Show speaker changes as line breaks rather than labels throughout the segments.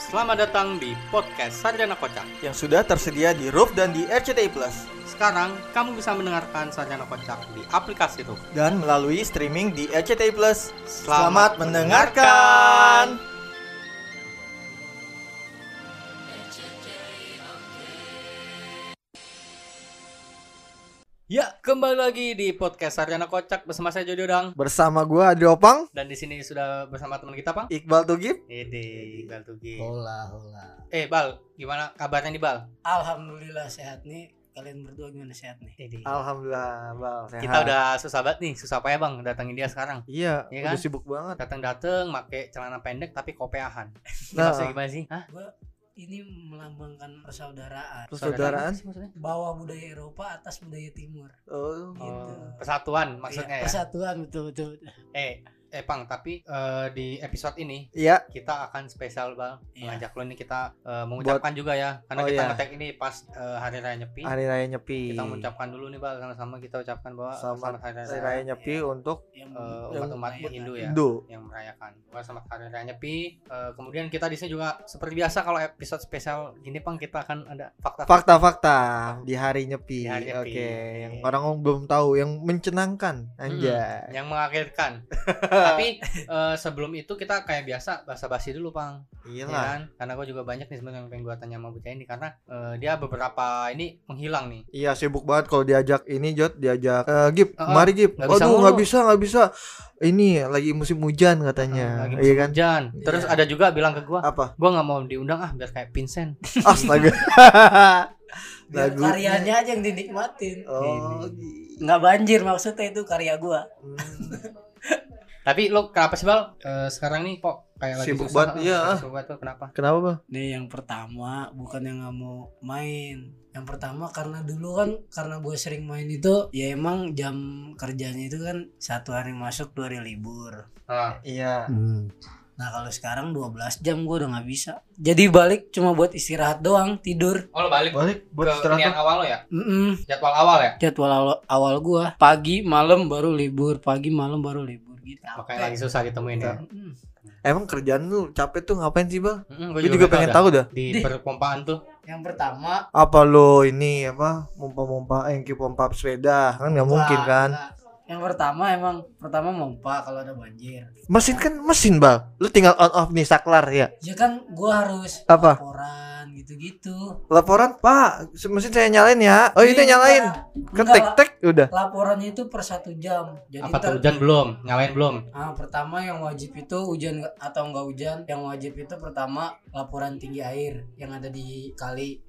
Selamat datang di podcast Sarjana Kocak.
yang sudah tersedia di Roof dan di RCTI Plus
Sekarang kamu bisa mendengarkan Sarjana Kocak di aplikasi Roof.
dan melalui streaming di RCTI Plus.
Selamat
Selamat, mendengarkan.
Ya, kembali lagi di podcast Sarjana Kocak bersama saya Jody Odang
Bersama gua Adri Opang,
dan di sini sudah bersama teman kita, Pang.
Iqbal Tugib.
Ede, Bal Tugi.
Hola, hola.
Eh, Bal, gimana kabarnya nih, Bal?
Alhamdulillah sehat nih. Kalian berdua gimana sehat nih?
Ede.
Alhamdulillah, Bal. Sehat.
Kita udah susah banget nih, susah payah Bang datangin dia sekarang.
Iya,
Iya
udah
kan?
sibuk banget.
Datang-datang make celana pendek tapi kopeahan.
Nah.
Maksudnya gimana sih? Hah?
Ini melambangkan persaudaraan.
Persaudaraan.
sih maksudnya?
Bawah budaya Eropa, atas budaya Timur.
Oh.
Gitu.
Oh, Persatuan maksudnya
Iya,
ya.
Persatuan betul betul. Iya,
Eh, eh Pang, tapi eh, di episode ini
Iya,
kita akan spesial bang
Iya.
mengajak lo nih kita eh, mengucapkan juga ya karena
Oh,
kita
iya.
ngetek ini pas eh, hari raya nyepi
hari raya nyepi.
kita mengucapkan dulu nih bang sama-sama kita ucapkan bahwa hari
Selamat Hari
raya
raya nyepi untuk
Yang
eh,
Yang-
umat-umat
Iya,
Hindu ya
Indo.
yang merayakan Wah, selamat hari raya nyepi Eh, kemudian kita di sini juga seperti biasa kalau episode spesial gini bang kita akan ada fakta
Fakta-fakta di hari
Di
nyepi.
hari nyepi.
Oke, yang orang belum tahu, yang mencenangkan anjay.
Hmm, yang mengagetkan tapi eh, sebelum itu kita kayak biasa basa-basi dulu bang ya
Iyalah.
kan? karena gue juga banyak nih sebenarnya yang pengen gue tanya sama bocah ini karena eh, dia beberapa ini menghilang nih
Iya sibuk banget kalau diajak ini Jod diajak eh Gip
Heeh.
mari Gip
Nggak bisa
aduh nggak
mulu.
bisa nggak bisa ini lagi musim hujan katanya
lagi
iya
musim
kan
hujan. Terus
Iya.
ada juga bilang ke gua,
apa
gua nggak mau diundang ah biar kayak Vincent.
astaga
Biar
lagu
karyanya aja yang dinikmatin.
oh
Nggak banjir maksudnya itu karya gua.
Hmm.
Tapi lo kenapa sih Bal? Eh, sekarang nih kok kayak lagi
Sibuk
susah,
banget,
ah,
iya.
Sibuk banget tuh, kenapa?
kenapa bang
Nih yang pertama bukan yang nggak mau main. Yang pertama karena dulu kan karena gue sering main itu ya emang jam kerjanya itu kan satu hari masuk dua hari libur.
Ah,
iya
Nah kalau sekarang 12 jam gue udah nggak bisa. Jadi balik cuma buat istirahat doang tidur.
oh lo balik
balik buat
ke niat
istirahat
awal lo ya?
Mm-mm.
Jadwal awal ya?
Jadwal awal, awal gue pagi malam baru libur pagi malam baru libur gitu.
Makanya lagi susah ditemuin
Iya.
ya.
Mm-mm.
emang kerjaan lu capek tuh ngapain sih bang
Mm,
gue juga pengen tahu dah
Di
Dih.
perpompaan tuh.
Yang pertama
apa lo ini apa mompa-mompa eh ki pompa sepeda kan nggak mungkin
Wah,
kan
nggak. Yang pertama emang pertama mompa kalau ada banjir.
mesin kan mesin bang lu tinggal on off nih saklar ya
Ya kan gue harus
apa
laporan gitu-gitu.
laporan pak mesin saya nyalain ya oh itu
Iya,
nyalain kan
enggak
tek
lah.
tek udah
Laporannya itu per satu jam. Jadi
Apa tuh
ter-
hujan belum? Nyalain belum?
Ah, pertama yang wajib itu hujan nggak- atau nggak hujan. Yang wajib itu pertama laporan tinggi air yang ada di kali.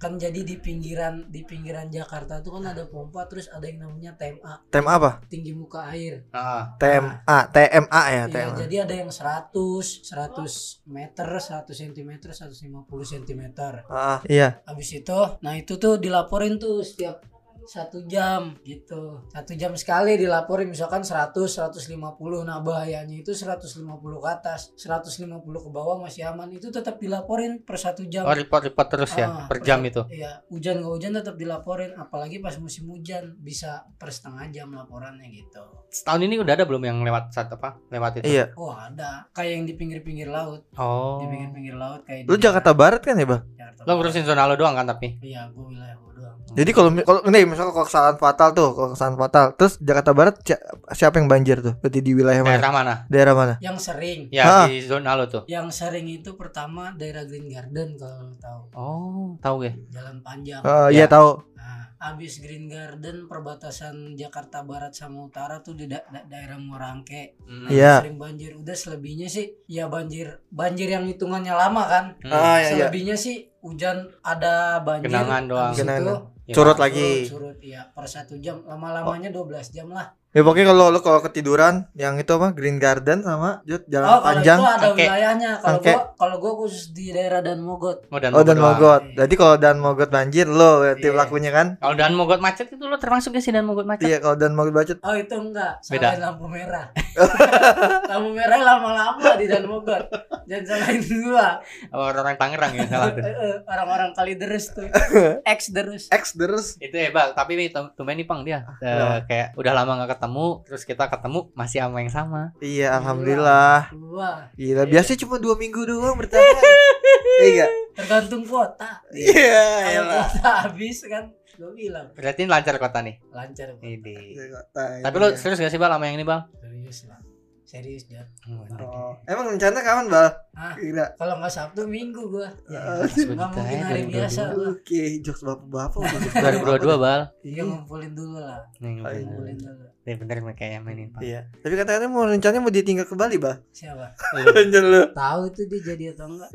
Kan jadi di pinggiran di pinggiran Jakarta tuh kan ada pompa terus ada yang namanya TMA,
tem apa
tinggi muka air.
Ah,
TMA TMA ya
Iya,
TMA
jadi ada yang 100, 100 meter, 100 cm, 150 cm.
Ah, iya
Habis itu, nah itu tuh dilaporin tuh setiap satu jam gitu satu jam sekali dilaporin misalkan 100 150 nah bahayanya itu 150 ke atas 150 ke bawah masih aman itu tetap dilaporin per satu jam
oh repot-repot terus ya
Ah,
per jam itu.
Iya, hujan nggak hujan tetap dilaporin apalagi pas musim hujan bisa per setengah jam laporannya gitu
Setahun ini udah ada belum yang lewat saat apa? Lewat itu.
iya
oh ada kayak yang di pinggir-pinggir laut
Oh.
di pinggir-pinggir laut kayak
lu
di
Jakarta Barat kan ya bang
Jakarta
Lo ngurusin zona lo doang kan tapi.
iya gue wilayah gue doang
jadi kalau mi- kalau nih misalnya kalau kesalahan fatal tuh kalau kesalahan fatal terus Jakarta Barat si- siapa yang banjir tuh berarti di wilayah mana
Daerah mana?
daerah mana
yang sering
Ya
Ah.
di zona lo tuh.
yang sering itu pertama daerah Green Garden kalau lo tahu
Oh, tahu ya.
jalan panjang
Eh,
Ya.
iya tahu
Nah, abis Green Garden perbatasan Jakarta Barat sama Utara tuh di da- da- daerah Muarangke. Nah,
Iya.
Sering banjir. Udah selebihnya sih ya banjir banjir yang hitungannya lama kan.
Ah, iya, iya.
selebihnya sih hujan ada banjir.
Genangan doang.
Abis
Genangan.
itu
Ya.
curut lagi Oh.
Surut, surut ya per satu jam lama-lamanya 12 jam lah.
ya pokoknya kalau lu kalau ketiduran yang itu apa Green Garden sama Jut, jalan
Oh, kalau
panjang
itu ada
Angke.
wilayahnya. Kalau
Angke.
gua kalau gua khusus di daerah Dan Mogot.
Oh, dan
oh dan
doang.
Mogot jadi kalau dan Mogot banjir lo berarti
Iya.
pelakunya kan
Kalau dan mogot macet itu lo termasuk gak sih dan mogot macet?
iya kalau dan Mogot bacot
Oh, itu enggak.
Beda.
Salahin lampu merah. lampu merah lama-lama di Dan Mogot. Jangan salahin gua.
Orang-orang Tangerang yang salah tuh.
Eh, eh, orang-orang kali deres tuh ex deres
X terus
itu ya bal tapi nih tum- tumben nih pang dia Eh,
kenapa?
kayak udah lama gak ketemu terus kita ketemu masih sama yang sama
iya alhamdulillah
wah
Gila, biasanya cuma dua minggu doang bertahan Iya nggak?
tergantung kuota
Iya,
kalau
elah.
kuota habis kan gue bilang
Berarti ini lancar kota nih.
lancar Bang.
Ini.
Kota,
Tapi
iya.
lu serius gak sih Bal sama yang ini Bal?
serius lah serius Jon
Oh, emang rencana kapan, Bal?
ah
Gila.
kalau nggak sabtu minggu gue
Eh,
nggak mungkin hari biasa gue
Oke, jokes bapak-bapak.
Dua 2022 Bal.
ya
Iya.
ngumpulin dulu lah
Nih
Ayo.
bener.
ngumpulin dulu
Nih bener nih, kayaknya mainin Pak.
Iya. Tapi katanya mau rencananya mau ditinggal ke Bali, Bal.
siapa
Rencana lu.
tahu itu dia jadi atau enggak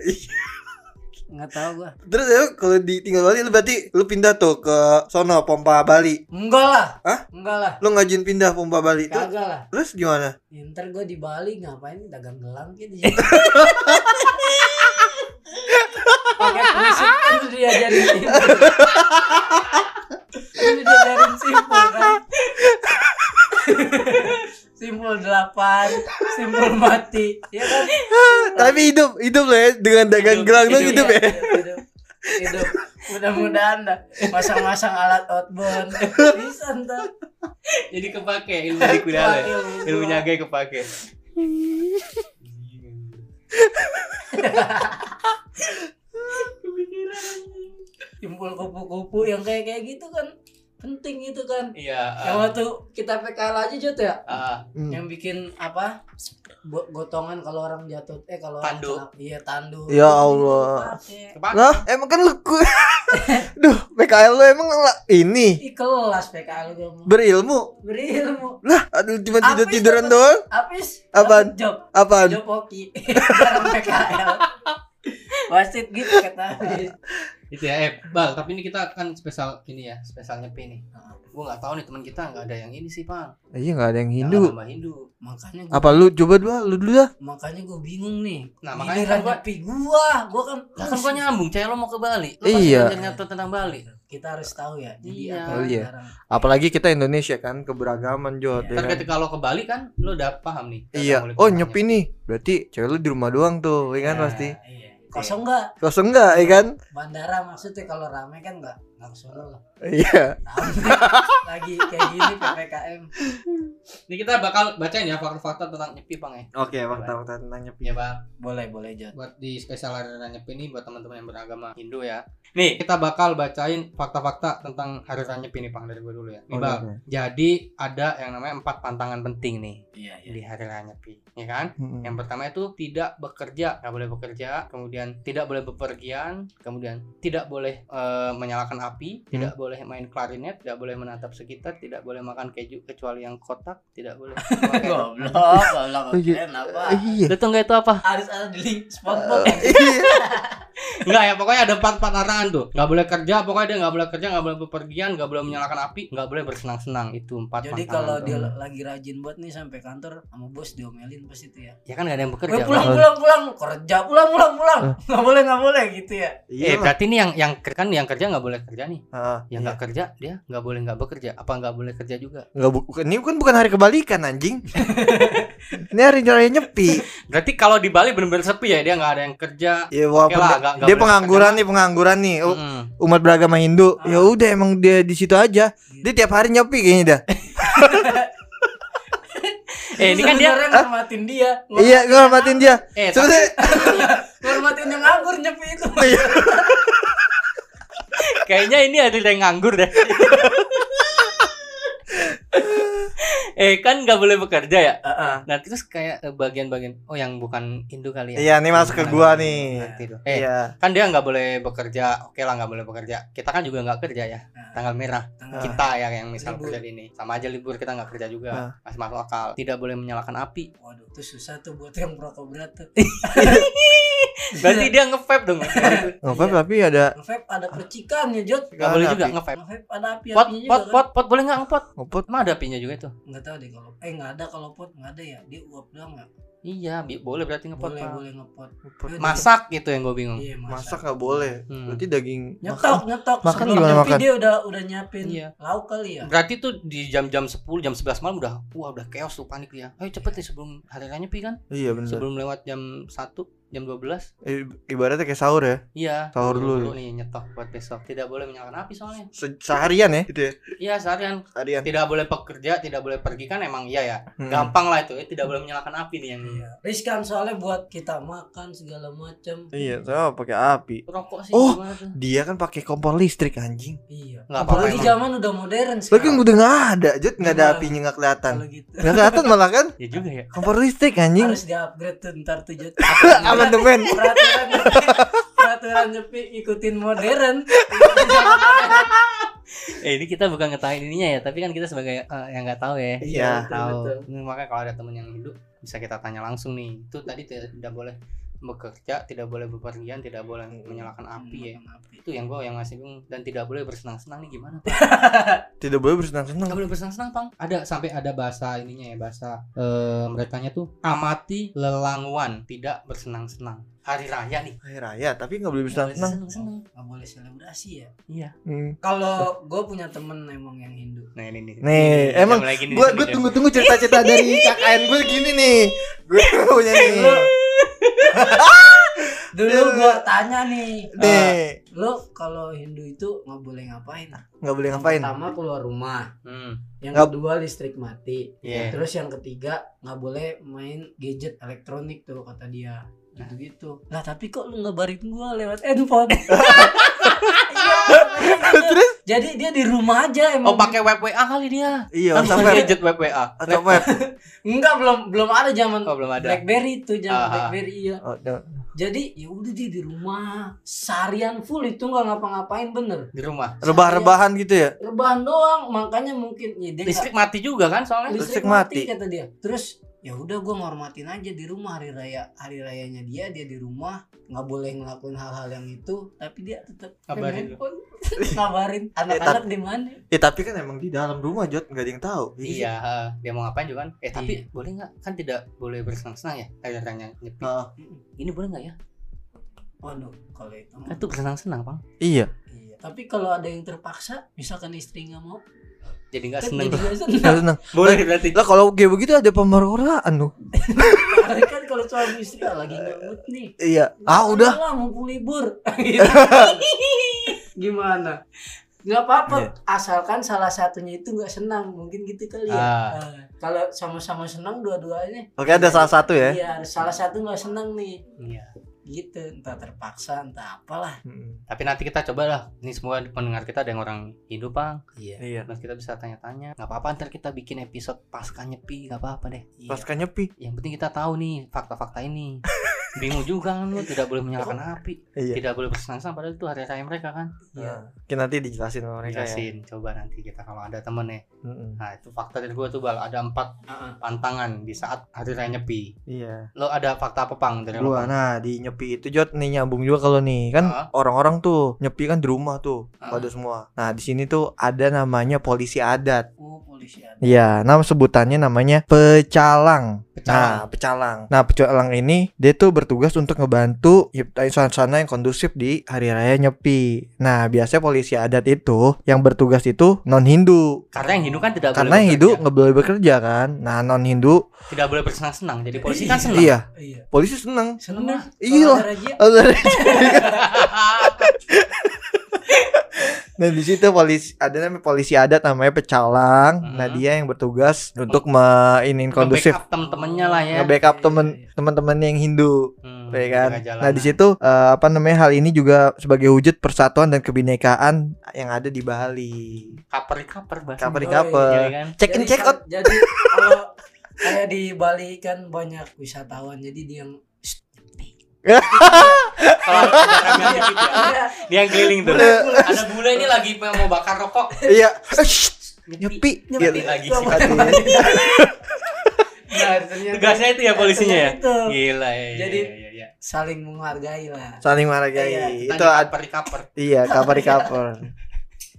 nggak tahu gue
Terus ya kalau ditinggal Bali lu berarti lu pindah tuh ke sono pompa Bali.
enggak lah
Hah?
enggak lah
Lu ngajuin pindah pompa Bali tuh.
kagak lah
Terus gimana?
Ya, ntar gue di Bali ngapain dagang gelang gitu ya. Pakai prinsip kan udah diajarin simpul. udah diajarin simpul kan. simpul delapan, simpul mati, ya kan?
Tapi hidup, hidup lah ya dengan dagang gelang dong hidup ya.
hidup, hidup, hidup. Mudah-mudahan dah masang-masang alat outbound bisa ntar.
Jadi kepake ilmu di
Wah, iya,
kuda
ilmu gua.
Ilmunya agak kepake.
simpul kupu-kupu yang kayak kayak gitu kan penting gitu kan
Iya.
yang
ah,
waktu kita PKL aja Jot ya
ah.
Hmm.
yang bikin apa bo- gotongan kalau orang jatuh eh kalau
Tandu.
orang celak. iya tandu
Ya
Itu
Allah.
dipakai.
Kepake.
Lah, emang kan lu ku- Duh, PKL lu emang la- ini
Ih, kelas PKL gue mau
berilmu.
berilmu
Lah, aduh cuma
Apa
tidur-tiduran
itu?
doang.
habis
Apaan?
dapet job
Apaan?
job hoki Orang PKL wasit gitu kata habis
Itu ya, eh, Bal, tapi ini kita kan spesial ini ya, spesialnya P nih. Gua nggak tahu nih teman kita nggak ada yang ini sih, Bang.
Iya nggak ada yang
Yang
Hindu.
agama Hindu.
makanya gua,
Apa lu coba dua lu dulu dah.
makanya gue bingung nih
Nah, makanya
makanya
kan gua-
nyepi gua gua kan
Lah kan gua nyambung, cewek lo mau ke Bali. Lo
Iya.
pasti nyata tentang Bali.
kita harus tahu ya jadi
Iya.
apa
Oh, iya.
sekarang.
Apalagi kita Indonesia kan keberagaman Jod. ya
Iya.
Ntar
kan?
ketika lo ke Bali kan lo udah paham nih.
Iya.
Tentang
Oh
kuliah
nyepi
tempatnya.
nih. Berarti cewek lu di rumah doang tuh, ya kan
Nah.
pasti.
Iya. kosong nggak
Kosong enggak, ya kan?
bandara maksudnya kalau rame kan nggak nggak kesana lah
Iya.
Rame. lagi kayak gini ppkm
Ini kita bakal bacain ya fakta-fakta tentang nyepi, Bang ya.
Oke, fakta-fakta tentang nyepi.
Ya, Bang.
boleh boleh jod
buat di spesial hari Nyepi ini buat teman-teman yang beragama Hindu ya. Nih, kita bakal bacain fakta-fakta tentang hari Nyepi nih, Bang, dari gue dulu ya. Nih, Bang.
Oke.
Jadi ada yang namanya empat pantangan penting nih
iya
di hari Raya Nyepi, ya kan?
Hmm.
Yang pertama itu tidak bekerja, nggak boleh bekerja, kemudian tidak boleh bepergian, kemudian tidak boleh eh, menyalakan api, tidak boleh main klarinet, tidak boleh menatap sekitar, tidak boleh makan keju kecuali yang kotak, tidak boleh.
goblok goblok
Iya.
keren apa
Iya.
Betul nggak itu apa?
harus ada di link
Eh,
spotbox ya?
Iya.
Enggak ya, pokoknya ada empat empat larangan tuh. Nggak boleh kerja, pokoknya dia nggak boleh kerja, nggak boleh bepergian, nggak boleh menyalakan api, nggak boleh bersenang-senang. Itu empat.
jadi
pantangan
kalau
tuh.
dia lagi rajin buat nih sampai kantor sama bos diomelin pas itu ya
ya kan nggak ada yang bekerja.
Weh, pulang
Bang.
pulang pulang kerja pulang pulang pulang nggak boleh nggak boleh gitu ya
Eh,
Iya.
berarti nih yang yang kan yang kerja nggak boleh kerja nih.
Heeh.
Yang nggak kerja dia nggak boleh nggak bekerja. Apa nggak boleh kerja juga?
Enggak bukan ini kan bukan hari kebalikan anjing. ini hari hari nyepi.
Berarti kalau di Bali benar-benar sepi ya dia nggak ada yang kerja.
Ya
Oke
walaupun
lah, nggak-
dia-
nggak
dia
boleh
pengangguran nih, pengangguran nih. U-
Mm.
Umat beragama Hindu.
Ah.
Ya udah emang dia di situ aja. Dia tiap hari nyepi kayaknya dah.
Eh ini kan dia
Sebenarnya ngormatin dia
Iya, gue hormatin dia.
eh tapi
Sebenarnya
ngormatin yang nganggur nyepi itu
kayaknya ini ada yang nganggur deh. eh kan nggak boleh bekerja ya. Nah terus kayak eh, bagian-bagian oh yang bukan Hindu kali ya.
Iya, ini masuk ke gua nih.
Nanti tuh. Eh
Iya.
kan dia nggak boleh bekerja, oke lah nggak boleh bekerja. Kita kan juga nggak kerja ya,
Ah.
tanggal merah.
Tanggal-
Kita ya yang misal
Libur.
kerja di ini, sama aja libur kita nggak kerja juga.
Ah.
Masih masuk akal. Tidak boleh menyalakan api.
waduh itu susah tuh buat yang perokok berat tuh
Eh. Berarti
Iya.
dia nge-vape dong. Nggak
Enggak apa-apa tapi ada
Vape ada percikannya, Jod.
boleh
ada
juga
api.
nge-vape.
Vape ada api
Pot,
Iya, apinya
pot,
juga
pot, pot boleh nggak ngepot?
ngopot.
Emang ada apinya juga itu?
kan. Nggak tahu deh kalau eh nggak ada kalau pot nggak ada ya. Dia uap doang ya.
Iya, bi- boleh berarti ngepot.
Boleh
Pak.
boleh ngepot. Yaudah.
Masak gitu yang gue bingung.
Iya,
Masak
masak.
nggak boleh.
Hmm.
Berarti daging
Nyetok, nyetok.
Makan
Sebelum
gimana
nyepi
makan?
Dia udah udah nyiapin
Iya.
lauk kali ya.
Berarti tuh di jam-jam 10, jam 11 malam udah wah udah chaos tuh panik dia. Ayo cepet nih sebelum hari raya nyepi kan.
Iya benar.
Sebelum lewat jam 1, jam 12.
Ibaratnya kayak sahur ya.
Iya.
Sahur
dulu
dulu
nih nyetok buat besok. Tidak boleh menyalakan api soalnya.
Se- seharian ya gitu ya.
Iya, seharian
Seharian.
tidak boleh pekerja, tidak boleh pergi kan emang iya ya.
Hmm.
Gampang lah itu. ya. Tidak boleh menyalakan api nih yang
Iya. Riskan soalnya buat kita makan segala macem.
Iya, sama pakai api.
Rokok sih
Oh.
gimana tuh?
Dia kan pakai kompor listrik anjing.
Iya.
Nggak apa-apa
Apalagi
emang.
zaman udah modern
Lagi
sekarang.
udah nggak ada, Jut nggak ada
Iya.
apinya nggak kelihatan.
Kalau gitu
Nggak kelihatan malah kan?
Ya juga ya.
Kompor listrik anjing.
harus di-upgrade tuh ntar tuh Jut.
Amandemen.
peraturan peraturan nyepi ikutin modern.
Eh, ini kita bukan ngetahuin ininya ya, tapi kan kita sebagai eh, yang nggak tahu ya.
Iya.
Betul,
tahu.
betul.
Ini Makanya kalau ada temen yang hidup bisa kita tanya langsung nih. Itu tadi tidak, tidak boleh bekerja, tidak boleh bepergian, tidak boleh
Hmm.
menyalakan
Hmm,
api ya. Itu yang gue yang ngasih bingung dan tidak boleh bersenang-senang nih gimana? Pak?
Tidak boleh bersenang-senang.
Nggak boleh bersenang-senang, Pang. Ada sampai ada bahasa ininya ya, bahasa eh mereka tuh amati lelangwan, tidak bersenang-senang. Hari raya nih.
Hari raya, tapi nggak
nggak
boleh
boleh
bersenang-senang.
Bersenang-senang.
Gak boleh selebrasi ya.
Hmm.
Kalau gue punya temen emang yang Hindu.
Nah, ini nih.
Nih,
Ini,
emang
jam lagi nih,
Gue
jam
gue
lagi.
tunggu-tunggu cerita-cerita dari kakak gue gini nih. Gue punya nih.
Dulu gue tanya nih,
Nih,
lo kalau Hindu itu nggak boleh ngapain?
nggak boleh
Yang
ngapain.
Pertama keluar rumah,
Hmm.
yang
Nggak-
kedua listrik mati,
Iya.
terus yang ketiga nggak boleh main gadget elektronik tuh kata dia. Gitu gitu. Lah tapi kok lu ngabarin gua lewat handphone? Iya.
Terus?
Jadi dia di rumah aja
Oh,
emang.
pakai web WA kali dia.
Iya,
Kan
sampai
sampai gadget web WA.
atau web.
Enggak belum belum ada zaman
Oh, belum ada.
BlackBerry tuh zaman
Aha.
BlackBerry iya.
Oh, no.
Jadi ya udah dia di rumah seharian full itu nggak ngapa-ngapain bener.
Di rumah.
Rebah-rebahan gitu ya.
Rebahan doang makanya mungkin ya dia nggak-
Listrik mati juga kan soalnya.
Listrik
listrik
mati.
mati, kata dia terus ya udah gue ngormatin aja di rumah hari raya hari rayanya dia dia di rumah nggak boleh ngelakuin hal-hal yang itu tapi dia tetap
Kabarin
kabarin anak-anak di mana
Ya tapi kan emang di dalam rumah Jot nggak ada yang tahu.
Iya, ha. dia mau ngapain juga kan? Eh tapi
Iya.
boleh nggak? Kan tidak boleh bersenang-senang ya? Kayak tanya nyepi.
Heeh.
Ini boleh nggak ya?
waduh kalau itu mah.
Kan tuh bersenang-senang bang.
Iya.
iya. tapi kalau ada yang terpaksa misalkan istri nggak mau
Jadi nggak
kan
seneng.
jadi nggak
Nggak
senang
senang.
boleh berarti.
Lah kalau kayak begitu ada pemerkosaan tuh.
Soalnya kan kalau suami istri ah, lagi nggak mood nih
Iya. Ah udah.
lah mumpung libur Gitu. gimana nggak apa-apa
Iya.
asalkan salah satunya itu nggak senang mungkin gitu kali ya
Ah.
Eh, kalau sama-sama senang dua-duanya
Oke ada salah satu ya.
iya salah satu nggak senang nih
Iya.
gitu entah terpaksa entah apalah
Mm-mm.
Tapi nanti kita cobalah. Ini semua pendengar kita ada yang orang hidup bang.
iya
Iya.
Terus kita bisa tanya-tanya. Nggak apa-apa ntar kita bikin episode pasca nyepi. Nggak apa-apa deh. Iya.
Pas kan nyepi.
Yang penting kita tahu nih fakta-fakta ini. Bingung juga kan lu tidak boleh menyalakan api,
Iya.
tidak boleh bersenang-senang padahal itu hari raya mereka kan.
Iya.
Nah, Mungkin nanti dijelasin sama mereka ya.
Jelasin, coba nanti kita kalau ada temen ya.
Mm-mm.
Nah itu fakta dari gua tuh bal ada empat
Ah.
Heeh.
pantangan di saat hari raya nyepi.
Iya.
Lo ada fakta apa pang dari lo?
Gua nah di nyepi itu Jot nih nyambung juga kalau nih
Ah.
kan orang-orang tuh nyepi kan di rumah tuh
Ah.
pada semua. Nah di sini tuh ada namanya polisi adat.
oh polisi ada
Iya, nama sebutannya namanya pecalang. Nah,
Pecalang.
pecalang. Nah, pecalang ini dia tuh bertugas untuk ngebantu nyiptain suasana yang kondusif di hari raya nyepi. Nah, biasanya polisi adat itu yang bertugas itu non Hindu.
Karena yang Hindu kan tidak
Karena
boleh
yang Hindu
bekerja.
nggak boleh bekerja kan. Nah, non Hindu
tidak boleh bersenang-senang. Jadi polisi kan senang.
iya,
iya
polisi seneng.
seneng lah
Iya.
Kalau ada razia,
Nah di situ polisi ada namanya polisi adat namanya pecalang.
Hmm.
Mhm.
Nah dia yang bertugas untuk mainin kondusif,
Nge-backup temen-temennya lah ya.
nge-backup
Oh. Iya, iya,
temen teman-teman yang Hindu,
Hmm,
ya kan?
tengah jalanan.
Nah di situ eh, apa namanya hal ini juga sebagai wujud persatuan dan kebinekaan yang ada di Bali.
Kaper-kaper bahasa.
Kaper
iya.
Jadi
kaper,
kan.
check in
Jadi
check
kan-
out.
jadi kalau kayak di Bali kan banyak wisatawan jadi dia yang
Kalau ada ramean dikit ya.
Ah.
Dia yang keliling tuh.
Bule.
Iya.
ada bule ini lagi mau bakar rokok.
Iya, Eh, shh, nyepi.
Nyepi
Gitu.
lagi.
Aduh.
Nah, ternyata-
Tugasnya itu ya polisinya ya.
Itu.
Gila ya.
Jadi-
ya, ya, ya.
saling menghargai lah
Saling
Iya,
menghargai.
Tadi
Itu ad-
kaper-kaper.
Iya, cover cover.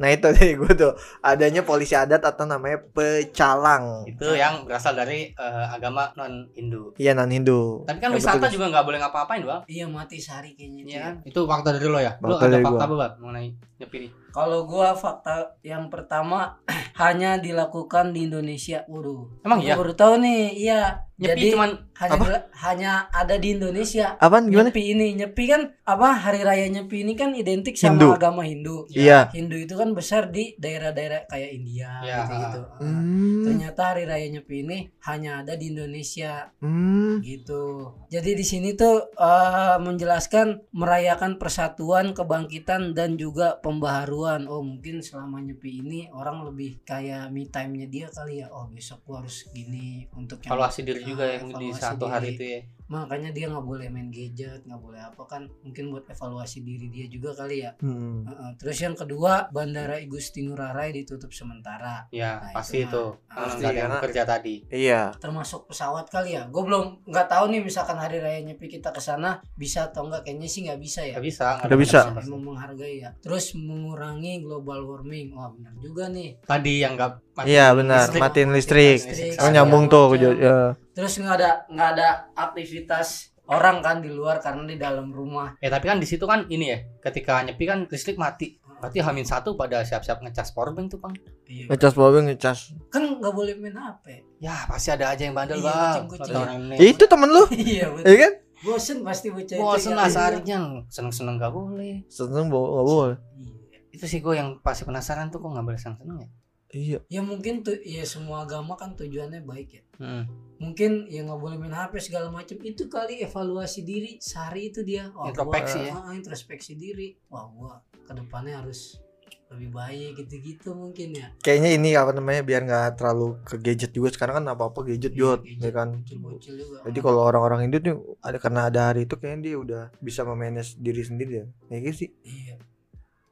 Nah itu dari gue tuh adanya polisi adat atau namanya pecalang.
Itu yang berasal dari eh, agama non Hindu.
Iya non Hindu.
Tapi kan
Yang
wisata
bertugas.
juga nggak boleh ngapa-ngapain, Bang.
iya mati sehari kayaknya itu
Iya
ya.
kan? Itu fakta dari lo ya? Lo
Fakta
ada
dari
fakta
gua.
apa, Bang, mengenai nyepi nih?
kalau gua fakta yang pertama hanya dilakukan di Indonesia waduh
Emang iya?
Gua baru tahu nih iya
Nyepi
jadi
cuman
hanya
Apa?
dila- hanya ada di Indonesia.
Apaan
Nah,
gimana?
Nyepi ini, Nyepi kan apa hari raya Nyepi ini kan identik sama
Hindu.
agama Hindu.
Iya.
Hindu itu kan besar di daerah-daerah kayak India
Ya.
gitu-gitu.
Hmm.
Ternyata hari raya Nyepi ini hanya ada di Indonesia
Hmm.
gitu. Jadi di sini tuh eh, menjelaskan merayakan persatuan, kebangkitan dan juga pembaharuan. Oh, mungkin selama nyepi ini orang lebih kayak me time-nya dia kali ya. Oh, besok gua harus gini untuk yang
Evaluasi diri juga
Ah,
ya di
evaluasi
satu
diri.
hari itu ya.
makanya dia nggak boleh main gadget, nggak boleh apa kan. Mungkin buat evaluasi diri dia juga kali ya.
Hmm.
Heeh. Terus yang kedua, Bandara Igusti Ngurah Rai ditutup sementara.
Ya,
Nah,
pasti
itu
itu. Kalau
Pasti,
nggak ada yang
karena-
bekerja tadi.
Iya.
termasuk pesawat kali ya gue belum nggak tahu nih misalkan hari raya nyepi kita ke sana bisa atau nggak kayaknya sih nggak bisa ya
Nggak bisa. nggak
Nggak
ada
bisa.
yang pasti.
Emang menghargai ya terus mengurangi global warming wah benar juga nih
Tadi yang nggak mati.
Iya benar.
Listrik.
Matiin listrik.
Listrik.
Oh nyambung
iya,
tuh. Jo- ya.
Iya, terus nggak ada nggak ada aktivitas orang kan di luar karena di dalam rumah
Ya tapi kan di situ kan ini ya, ketika nyepi kan listrik mati. Berarti hamin satu pada siap-siap ngecas powerbank tuh bang.
Iya.
Ngecas bawang ngecas.
kan nggak boleh main HP
Ya pasti ada aja yang bandel
Iya,
bang.
kucing-kucing.
Ada orang ini.
Itu temen lu,
iya
iya
betul
kan?
bosen pasti bocah itu
Bosen
ya.
lah seharian seneng-seneng nggak boleh.
Seneng bo- nggak boleh.
Iya.
Itu sih gue yang pasti penasaran tuh kok nggak boleh seneng-seneng ya.
Iya.
ya mungkin tuh ya semua agama kan tujuannya baik ya
Hmm.
mungkin ya nggak boleh main HP segala macam itu kali evaluasi diri sehari itu dia Wah, gua-
Introspeksi ya.
Ah, introspeksi diri wah gua kedepannya harus lebih baik gitu-gitu mungkin ya
Kayaknya ini apa namanya biar nggak terlalu ke gadget juga sekarang kan apa-apa gadget
Iya,
jod, ya kan.
bocil-bocil juga
Jadi kalau orang-orang Hindu tuh ada karena ada hari itu kayaknya dia udah bisa memanage diri sendiri ya. Ya gitu sih.
iya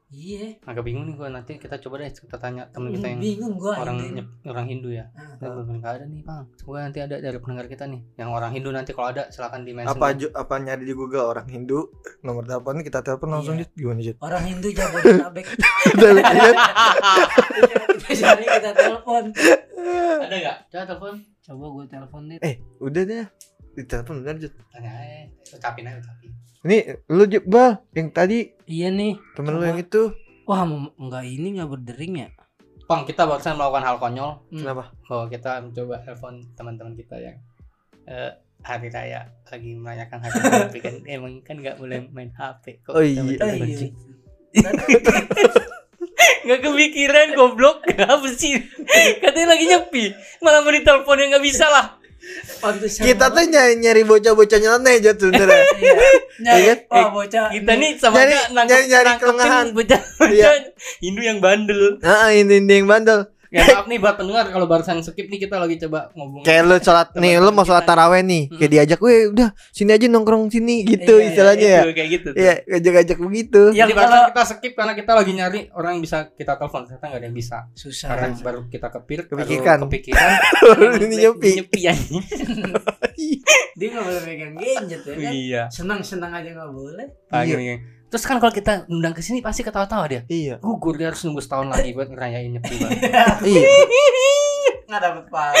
iya
Agak bingung nih gue nanti kita coba deh kita tanya temen kita yang
bingung gua
orang
ini.
Nyep- orang Hindu ya.
Ah.
Nah, gue bilang, "Nggak ada nih bang. Semoga nanti ada dari pendengar kita nih. Yang orang Hindu nanti kalau ada silakan ya. di mention.
Apa ju- apa nyari di Google orang Hindu nomor telepon kita telepon langsung
Iya.
Jod. gimana Jod?
orang Hindu Jabodetabek
Udah, lu ingat?
kita cari kita telepon
ada nggak? Coba telepon.
coba gua telepon nih
eh, udah deh. Di telepon benar Jod.
Tanya aja. Ucapin aja ucapin.
Ini lu Jod, Bal, yang tadi
iya nih
temen lu
Coba.
yang itu
wah mem- nggak ini nggak berdering ya
Bang kita barusan melakukan hal konyol
Hmm.
kenapa?
bahwa kita mencoba telepon teman-teman kita yang eh, hari raya lagi merayakan hari raya tapi kan emang kan nggak boleh main HP kok
Oh
kita
iya.
mencoba
Eh, iya.
kunci. nggak kepikiran goblok kenapa sih katanya lagi nyepi malah mau ditelepon yang nggak bisa lah
Pantesan
kita tuh nyari, nyari bocah-bocah nyeleneh aja sebenernya
Iya. Nyari-
Iya kan?
wah bocah
kita nih sama
Nyari-
aja nangkep
nyari- nyari
nangkepin
kelengahan.
bocah
Iya.
bocah Hindu yang bandel
Nah ini ini yang bandel
ya maaf nih buat pendengar kalau barusan skip nih kita lagi coba
Oh,
ngomong
Kayak lu sholat
Teman-teman
nih Lu mau sholat
kita.
taraweh nih Kayak diajak Weh udah sini aja nongkrong sini Gitu
Hmm. Iya, iya,
istilahnya ya
Itu, kayak gitu tuh.
Iya ngajak-ngajak begitu
Iya.
Jadi
Yang
barusan
kalau-
kita skip karena kita lagi nyari orang yang bisa kita telepon ternyata nggak ada yang bisa.
susah
Karena baru kita kepir, baru
Nah. Kepikiran.
kepikiran,
iya,
Ini nyepi
nyepi ya.
dia nggak boleh pegang gadget ya kan
iya.
senang senang aja nggak boleh
Pagi Terus kan kalau kita undang ke sini pasti ketawa-tawa dia.
Iya
Gugur dia harus nunggu setahun lagi buat ngerayain nyepi. Bang.
Iya
nggak dapet pahala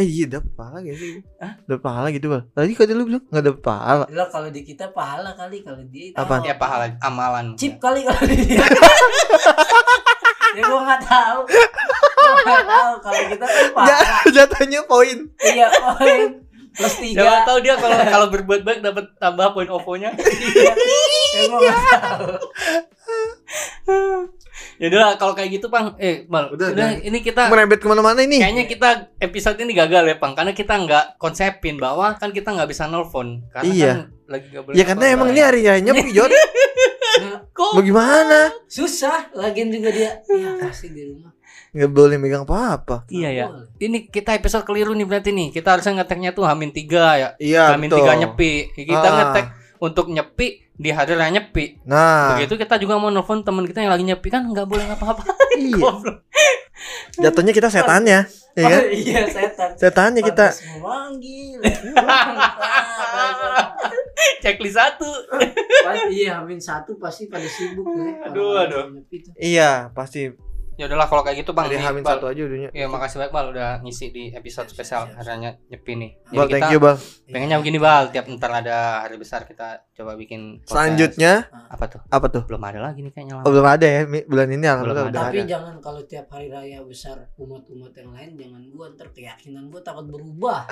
Eh iya dapet pahala gak sih Dapet pahala gitu bal Tadi kata lu bilang gak dapet pahala
lo kalau di kita pahala kali kalau dia itu
Apaan?
ya pahala amalan.
chip kali kalau di dia ya gua nggak tahu Gua nggak tahu kalau kita kan pahala
Ja- Jatuhnya poin
iya poin plus
Siapa
tiga
tahu dia kalau kalau berbuat baik dapat tambah poin OVO-nya.
Iya. ya gua nggak tahu
ya udah lah, kalau kayak gitu, Bang. Eh, Bang.
Udah,
Udah,
udah.
ini kita
Merembet kemana-mana ini
Kayaknya kita episode ini gagal ya, Pang, karena kita nggak konsepin bahwa kan kita nggak bisa nelpon karena
Iya.
kan lagi nggak boleh.
Ya karena
nelpon,
emang
Bang.
ini hari rayanya Jod
Nah,
Kok?
Bagaimana
susah lagian juga dia ya pasti di rumah
Gak boleh megang apa-apa
Iya ya.
Nggak boleh.
Ini kita episode keliru nih berarti nih. Kita harusnya ngeteknya tuh Hamin 3 ya.
Iya
Hamin
betul
3 nyepi. Kita
Ah.
ngetek untuk nyepi di hari raya nyepi.
Nah
Begitu kita juga mau nelpon teman kita yang lagi nyepi kan nggak boleh ngapa-ngapa.
Iya
Goblok.
Jatuhnya kita setannya, ya kan?
Oh, iya setan
Setannya kita.
Pantes memanggil. Pantes.
Checklist satu.
Pas- iya Hamin satu pasti pada sibuk ya.
Aduh,
Orang-orang
aduh.
nyepi tuh.
Iya, pasti.
ya udahlah kalau kayak gitu bang
Dari
Ini,
Hamin
Bal.
satu aja dunia.
ya makasih banyak bal udah ngisi di episode
Siap,
spesial
siap, siap.
harinya nyepi nih Jadi
Bal,
kita
thank you, Bal.
pengennya begini bal tiap ntar ada hari besar kita coba bikin podcast.
Selanjutnya
apa tuh
apa tuh?
belum ada lagi nih kayaknya lah.
Oh, belum ada ya Mi- bulan ini alhamdulillah
ada.
udah
Tapi
ada.
jangan kalau tiap hari raya besar umat-umat yang lain jangan gua ntar keyakinan gua takut berubah.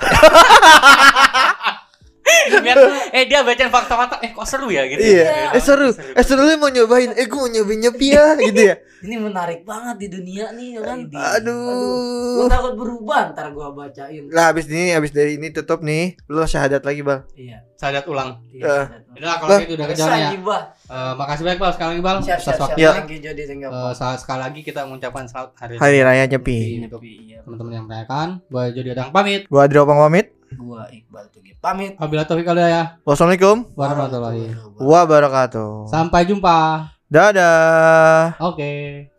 Biar, eh dia bacain fakta-fakta eh kok seru ya gitu
Iya. Eh seru. Eh seru lu mau nyobain. Eh gua mau nyobain nyepi ya gitu ya.
Ini menarik banget di dunia nih ya kan. Gua
Aduh.
takut berubah ntar gua bacain.
Lah abis ini abis dari ini tutup nih. Lu syahadat lagi, Bal.
Iya.
sadat ulang
Iya.
Eh.
udah kalau
Bang.
gitu udah kejar
Bisa
ya
gibah.
Eh, makasih banyak bal sekali lagi bal
Siap siap
atas
siap.
waktunya.
Iya.
Thank you jadi thank you.
Eh, sa- sekali lagi kita mengucapkan selamat hari
Hari Raya
Iya,
Nyepi.
Nyepi untuk teman-teman yang merayakan gue jadi adang pamit
Gua Adro Pang pamit.
Gua Iqbal Tugi pamit.
Wabillahi taufiq wal hidayah.
Wassalamualaikum
warahmatullahi
Warahmatullahi wabarakatuh.
wabarakatuh.
sampai jumpa
Dadah.
oke